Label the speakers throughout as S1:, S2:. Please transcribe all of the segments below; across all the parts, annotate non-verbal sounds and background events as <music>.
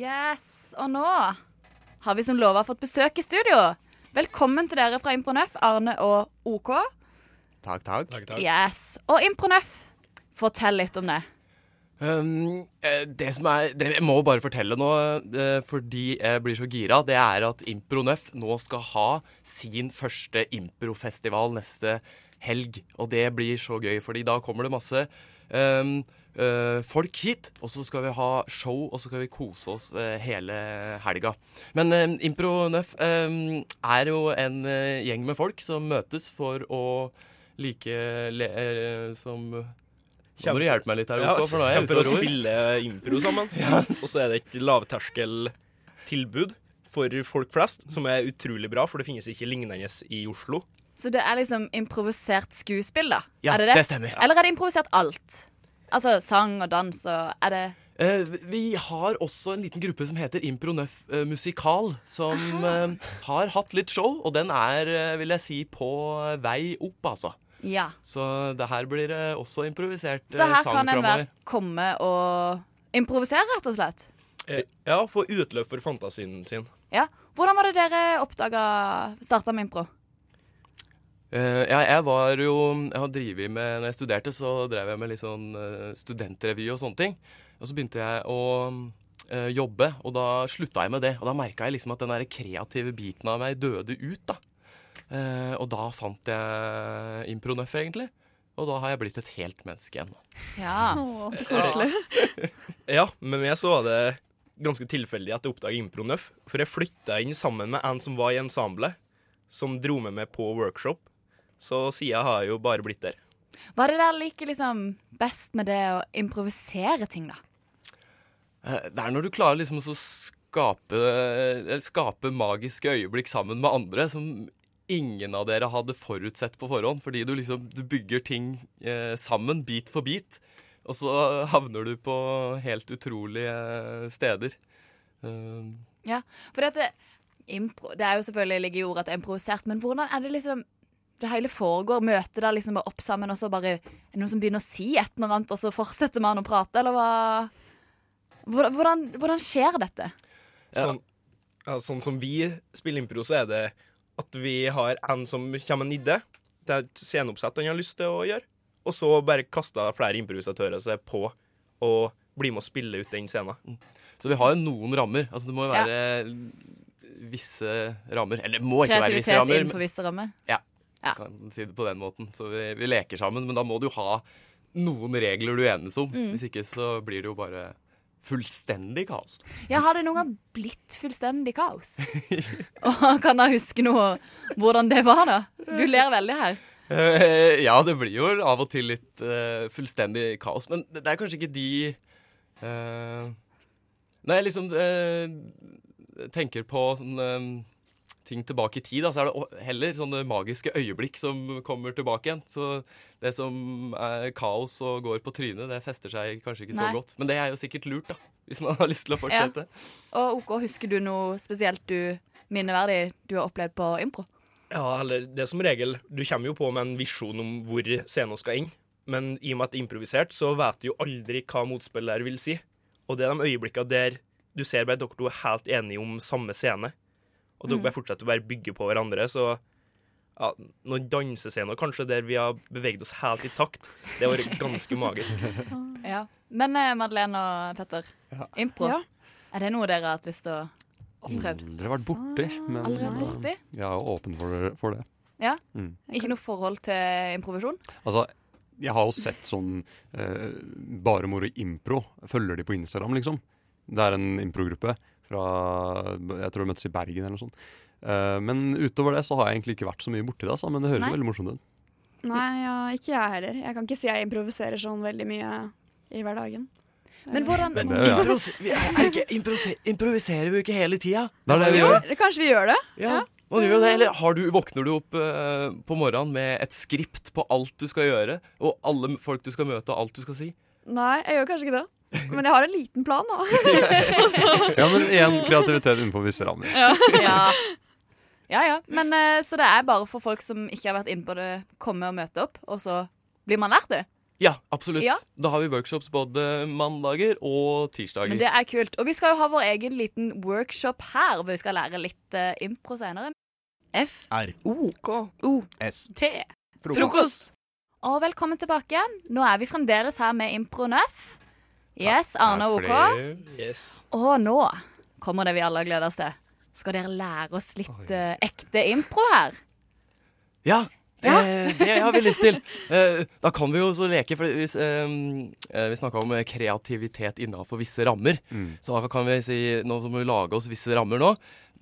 S1: Yes, og nå har vi som lova fått besøk i studio. Velkommen til dere fra Impronøff, Arne og OK.
S2: Takk, takk.
S3: Takk, takk.
S1: Yes, Og Impronøff, fortell litt om det.
S2: Um, eh, det som er det, Jeg må bare fortelle nå, eh, fordi jeg blir så gira, det er at Impronøff nå skal ha sin første improfestival neste helg. Og det blir så gøy, fordi da kommer det masse um, eh, folk hit. Og så skal vi ha show, og så skal vi kose oss eh, hele helga. Men um, Impronøff um, er jo en eh, gjeng med folk som møtes for å like le, eh, som nå må du hjelpe meg litt her, OK, for nå er jeg ute
S3: Kjemper å
S2: og ror.
S3: spille impro sammen. <laughs> Og så er det et lavterskeltilbud for folk flest, som er utrolig bra, for det finnes ikke lignende i Oslo.
S1: Så det er liksom improvisert skuespill, da?
S2: Ja,
S1: er
S2: det stemmer.
S1: Eller er det improvisert alt? Altså sang og dans og Er det
S2: Eh, vi har også en liten gruppe som heter Impro Nøff eh, Musikal, som eh, har hatt litt show, og den er, eh, vil jeg si, på eh, vei opp, altså.
S1: Ja.
S2: Så det her blir eh, også improvisert eh,
S1: Så her
S2: sang
S1: kan enhver
S2: framover.
S1: komme og improvisere, rett og slett?
S3: Eh, Ja, få utløp for fantasien sin.
S1: Ja. Hvordan var det dere oppdaga Starta med impro?
S2: Eh, ja, jeg var jo Jeg har drevet med Når jeg studerte, så drev jeg med litt sånn eh, studentrevy og sånne ting. Og så begynte jeg å eh, jobbe, og da slutta jeg med det. Og da merka jeg liksom at den der kreative biten av meg døde ut, da. Eh, og da fant jeg impronøff, egentlig. Og da har jeg blitt et helt menneske igjen.
S1: Ja.
S4: Så koselig.
S3: Ja, med meg så var det ganske tilfeldig at jeg oppdaga impronøff. For jeg flytta inn sammen med en som var i ensemblet, som dro med meg på workshop. Så sida har jeg jo bare blitt der.
S1: Hva er det der liker liksom best med det å improvisere ting, da?
S2: Eh, Det er når du klarer liksom å skape, eller skape magiske øyeblikk sammen med andre som ingen av dere hadde forutsett på forhånd, fordi du liksom du bygger ting eh, sammen bit for bit, og så havner du på helt utrolige steder. Eh,
S1: Ja, for dette impro, Det er jo selvfølgelig ligger i ordet at det er improvisert, men hvordan er det liksom det hele foregår? Møtet der liksom bare opp sammen, og så bare er det noen som begynner å si et eller annet, og så fortsetter man å prate, eller hva? Hvordan, hvordan, hvordan skjer dette?
S2: Ja.
S3: Sånn, ja, sånn som vi spiller impro, så er det at vi har en som kommer med en idé. Det er et sceneoppsett han har lyst til å gjøre. Og så bare kaster flere improvisatører seg på og blir med å spille ut den scenen.
S2: Så vi har jo noen rammer. Altså det må jo
S1: Ja.
S2: være visse rammer. Eller det må ikke være visse
S1: Kreativitet
S2: rammer.
S1: innenfor visse rammer? Ja.
S2: kan si det på den måten. Så vi, vi leker sammen, men da må du ha noen regler du enes om. Hvis ikke så blir det jo bare fullstendig kaos.
S1: Ja, har det noen gang blitt fullstendig kaos? Og kan jeg huske noe hvordan det var, da? Du ler veldig her.
S2: Eh, ja, det blir jo av og til litt eh, fullstendig kaos, men det, det er kanskje ikke de eh, Når jeg liksom eh, tenker på sånne eh, ting tilbake i tid, da, så er det o- heller sånne magiske øyeblikk som kommer tilbake igjen. Så det som er kaos og går på trynet, det fester seg kanskje ikke
S1: Nei.
S2: så godt. Men det er jo sikkert lurt, da, hvis man har lyst til å fortsette.
S1: Og OK, husker du noe spesielt du minneverdig du har opplevd på impro?
S3: Ja, eller det er som regel Du kommer jo på med en visjon om hvor scenen skal inn, men i og med at det er improvisert, så vet du jo aldri hva motspiller vil si. Og det er de øyeblikkene der du ser bare at dere to er helt enige om samme scene, og dere bare fortsetter å bare bygge på hverandre, så ja, noen dansescener kanskje der vi har beveget oss helt i takt, det har vært ganske
S2: <laughs>
S3: magisk.
S1: Ja. Men eh, Madeleine og Petter, impro,
S4: Ja.
S1: er det noe dere har hatt lyst til å prøve?
S5: Aldri vært borti, men
S1: Aldri vært borti?
S5: jeg er jo åpen for, for det.
S1: Ja.
S5: Mm.
S1: Ikke noe forhold til improvisasjon?
S5: Altså, jeg har jo sett sånn eh, Bare Moro Impro. Følger de på Instagram, liksom. Det er en improgruppe fra Jeg tror de møttes i Bergen eller noe sånt. Eh, men utover det så har jeg egentlig ikke vært så mye borti det, altså, men det høres
S1: Nei.
S5: jo veldig morsomt ut.
S4: Nei, ja, ikke jeg heller. Jeg kan ikke si jeg improviserer sånn veldig mye i hverdagen.
S1: Men hvordan
S5: Det gjør jeg.
S2: improviserer vi jo ikke hele tida?
S5: Det er det vi
S4: Jo,
S5: gjør.
S4: kanskje vi gjør det?
S2: Ja, man gjør jo det. Eller har du, våkner du opp eh, på morgenen med et skript på alt du skal gjøre, og alle m- folk du skal møte, og alt du skal si?
S4: Nei, jeg gjør kanskje ikke det. Men jeg har en liten plan, da.
S5: Ja, men igjen, kreativitet innenfor visse rammer.
S1: <laughs> Ja. ja, ja. Men, eh, så det er bare for folk som ikke har vært inne på det, komme og møte opp, og så blir man lært det?
S2: Ja, absolutt.
S1: Ja.
S2: Da har vi workshops både mandager og tirsdager.
S1: Men det er kult. Og vi skal jo ha vår egen liten workshop her, hvor vi skal lære litt eh, impro senere.
S6: F.
S7: R.
S6: O.
S4: K.
S6: O.
S7: S.
S4: T.
S6: Frokost.
S1: Og velkommen tilbake igjen. Nå er vi fremdeles her med Impro Nøff. Yes, Arne og OK.
S3: Yes.
S1: Og nå kommer det vi alle har gleda oss til. Skal dere lære oss litt eh, ekte impro her?
S2: Ja, det, det har vi lyst til. Eh, da kan vi jo så leke, for hvis, ehm, eh, vi snakka om eh, kreativitet innafor visse rammer. Så da kan vi si nå så må vi lage oss visse rammer nå.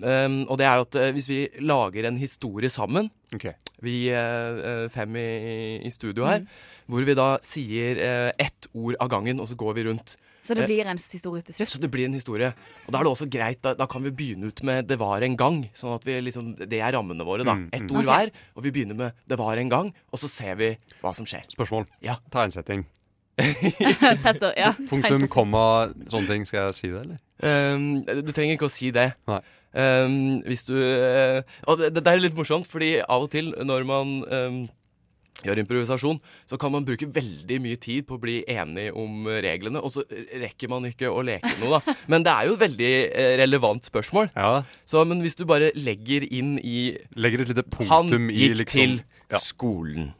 S2: Ehm, og det er at eh, hvis vi lager en historie sammen,
S5: Ok.
S2: vi eh, eh, fem i, i studio her, hvor vi da sier eh, ett ord av gangen, og så går vi rundt.
S1: Så
S2: Eh,
S1: det blir en historie til
S2: Så
S1: slutt.
S2: det blir en historie. Og da er det også greit, da, da kan vi begynne ut med 'det var en gang'. Sånn at vi liksom, Det er rammene våre, da.
S5: Mm,
S2: Ett
S5: mm.
S2: ord
S1: Ok.
S2: hver. Og vi begynner med 'det var en gang', og så ser vi hva som skjer.
S5: Spørsmål.
S2: Ja.
S5: Tegnsetting.
S1: <laughs> Petter, ja.
S5: Punktum, komma, sånne ting. Skal jeg si det, eller?
S2: Ehm, du trenger ikke å si det.
S5: Nei.
S2: Ehm, hvis du eh, Og det, det er litt morsomt, fordi av og til når man ehm, gjør improvisasjon, så kan man bruke veldig mye tid på å bli enig om eh, reglene, og så rekker man ikke å leke noe,
S5: <laughs>
S2: da. Men det er jo et veldig eh, relevant spørsmål.
S5: Ja.
S2: Så, men hvis du bare legger inn i
S5: Legger et lite
S2: Han
S5: punktum i
S2: gikk til
S5: liksom Ja.
S2: skolen.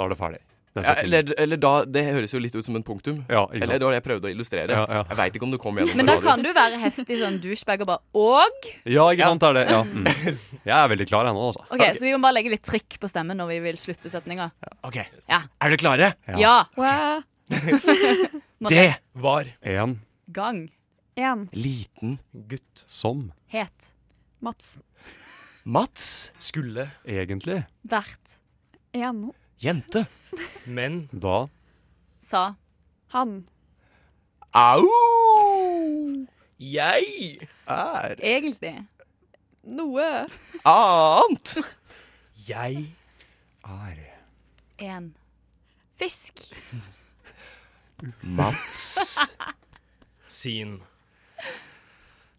S5: Da er det ferdig. Den
S2: Ja,
S5: setningen.
S2: eller, eller da Det høres jo litt ut som en punktum.
S5: Ja, ikke
S2: Eller
S5: sant.
S2: det var det jeg prøvde å illustrere.
S5: Ja, ja.
S2: Jeg veit ikke om det kom gjennom
S1: Men da
S2: på radio.
S1: kan du være heftig sånn douchebag og bare Og?
S5: Ja, ikke sant, det er det. Ja. Mm. Jeg er veldig klar, jeg nå, altså.
S1: OK, så vi må bare legge litt trykk på stemmen når vi vil slutte setninga.
S2: Ok,
S1: Ja.
S2: Er dere klare?
S5: Ja.
S1: Ja.
S4: Wow.
S1: Må
S2: Det
S3: Var.
S5: En
S1: Gang.
S4: En.
S2: liten
S3: Gutt.
S5: som
S1: Het.
S4: Mats.
S2: Mats
S3: Skulle.
S5: egentlig
S1: Vært.
S4: En.
S2: jente.
S3: Men.
S5: da
S1: Sa.
S4: Han.
S2: Au!
S3: Jeg.
S2: Er
S1: Egentlig.
S4: Noe.
S2: annet.
S3: Jeg.
S5: er
S1: En.
S4: Fisk.
S2: Mats
S3: Sin.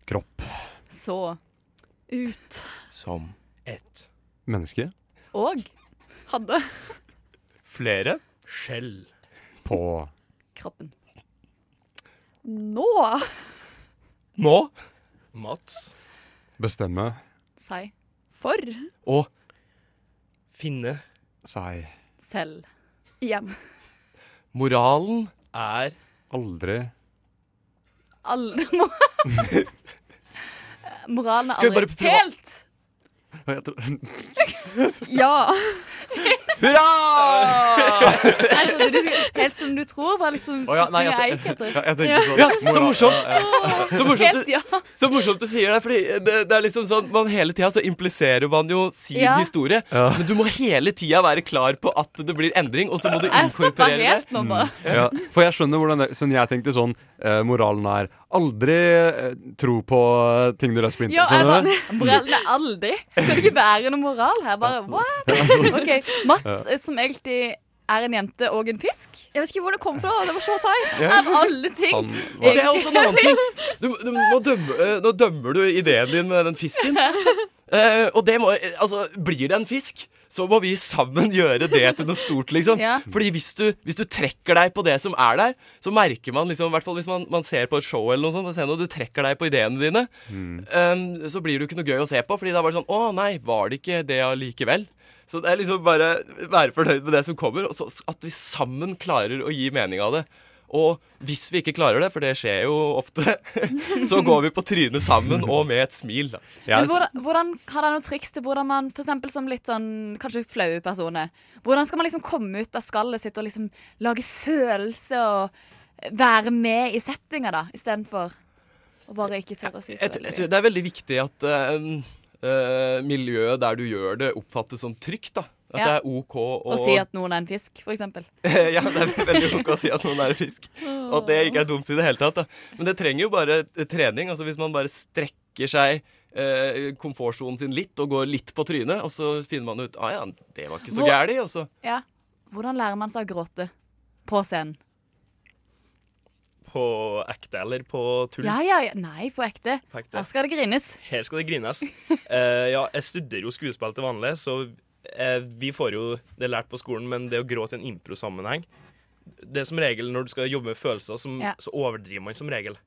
S5: kropp,
S1: Så.
S4: Ut.
S2: som
S3: Et.
S5: menneske,
S1: Og.
S4: Hadde.
S2: Flere?
S3: Skjell.
S5: på
S1: Kroppen.
S4: Nå.
S2: Nå
S3: Mats.
S5: bestemme
S1: Si.
S4: For.
S2: og
S3: Finne.
S5: seg
S1: Selv.
S4: Igjen.
S2: moralen
S3: Er.
S5: aldri
S1: Alle
S2: <laughs>
S1: må Moralen er
S2: Skal vi
S1: aldri
S2: bare prøve-
S1: helt
S5: Jeg tror- <laughs>
S4: Ja.
S2: Hurra!
S1: Nei, jeg trodde du skulle- Helt som du tror, var liksom
S5: Å ja, nei,
S1: setningen jeg
S5: jeg,
S1: gikk
S5: jeg,
S1: etter.
S5: jeg tenker sånn
S2: Ja, så morsomt. Så morsomt
S1: Helt ja.
S2: Så morsomt du sier det, fordi det, det er liksom sånn man hele tida så impliserer man jo sin
S1: Ja.
S2: historie.
S5: Ja.
S2: Men du må hele tida være klar på at det blir endring, og så må du
S1: Jeg stoppa
S2: inkorporere det.
S1: helt nå, bare.
S5: ja, For jeg skjønner hvordan det Sånn jeg tenkte sånn eh, Moralen er aldri eh, tro på eh, ting du leser på
S1: Ja,
S5: internett.
S1: jeg
S5: skjønner du?
S1: bare, moralen er aldri. Skal det ikke være noe moral her? Bare, what? Ok, Mats, eh, som egentlig er en jente og en fisk,
S4: Jeg vet ikke hvor det kom fra. da. Det var så teit.
S1: av alle ting.
S5: Han
S2: Og
S5: var
S2: det er også en annen ting. Du, du, nå, dømmer, eh, nå dømmer du ideen din med den fisken. Eh, og det må eh, Altså, blir det en fisk, så må vi sammen gjøre det til noe stort, liksom.
S1: Ja.
S2: Fordi hvis du, hvis du trekker deg på det som er der, så merker man liksom, i hvert fall hvis man, man ser på et show eller noe sånt, på scenen, og du trekker deg på ideene dine, eh, så blir det jo ikke noe gøy å se på, fordi det er bare sånn Å nei, var det ikke det allikevel? Så det er liksom bare være fornøyd med det som kommer, og så, at vi sammen klarer å gi mening av det. Og hvis vi ikke klarer det, for det skjer jo ofte, <laughs> så går vi på trynet sammen og med et smil. Da.
S1: Men
S5: jeg,
S1: hvordan, hvordan Har dere noen triks til hvordan man, for eksempel som litt sånn kanskje flaue personer Hvordan skal man liksom komme ut av skallet sitt og liksom lage følelse og være med i settinga, da, istedenfor å bare ikke tørre å si så
S2: Jeg, tror- jeg
S1: veldig mye?
S2: tror det er veldig viktig at eh, eh, miljøet der du gjør det, oppfattes som trygt. da. At
S1: Ja.
S2: det er OK å
S1: Å si at noen er en fisk, for eksempel.
S2: <laughs> ja, det er veldig OK å si at noen er fisk. Og at det ikke er dumt i det hele tatt. Da. Men det trenger jo bare trening. altså Hvis man bare strekker seg eh, komfortsonen sin litt og går litt på trynet, og så finner man ut ah, ja, det var ikke så
S1: Hvor-
S2: gærent, og så
S1: Ja. Hvordan lærer man seg å gråte på scenen?
S3: På ekte eller på tull?
S1: Ja, ja, ja. Nei, på ekte.
S3: På ekte.
S1: Her skal det grines.
S3: Her skal det grines. <laughs> Eh, ja, jeg studerer jo skuespill til vanlig, så eh, vi får jo det lært på skolen, men det å gråte i en impro-sammenheng det er som regel Når du skal jobbe med følelser, som,
S1: Ja.
S3: så overdriver man som regel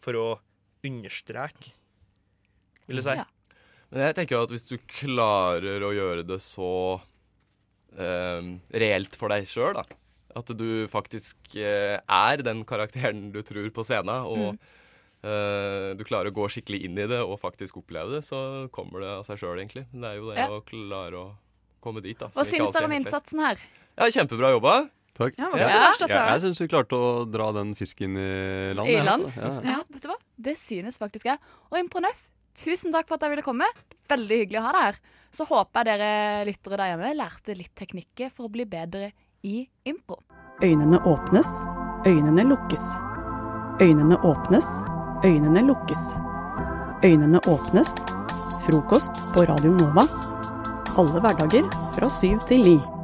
S3: for å understreke, vil jeg si.
S1: Ja.
S2: Men jeg tenker jo at hvis du klarer å gjøre det så eh, reelt for deg sjøl, da. At du faktisk eh, er den karakteren du tror på scenen, og
S1: Mm.
S2: eh, du klarer å gå skikkelig inn i det og faktisk oppleve det, så kommer det av seg sjøl, egentlig. Men det er jo det
S1: Ja.
S2: å klare å komme dit, da. som
S1: Hva
S2: ikke
S1: syns
S2: alltid
S1: dere om
S2: er helt lett.
S1: innsatsen her?
S2: Ja, kjempebra jobba.
S5: Takk.
S4: Ja, det var
S2: Ja.
S4: ikke så verst, dette.
S5: Jeg syns vi klarte å dra den fisken i land.
S1: I
S5: jeg,
S1: land?
S5: altså. Ja.
S1: Ja, vet du hva? Det synes faktisk jeg. Og Impronøff, tusen takk for at dere ville komme. Veldig hyggelig å ha deg her. Så håper jeg dere lyttere der hjemme lærte litt teknikker for å bli bedre i impro.
S7: Øynene åpnes, øynene lukkes. Øynene åpnes, øynene lukkes. Øynene åpnes. Frokost på Radio Nova. Alle hverdager fra syv til ni.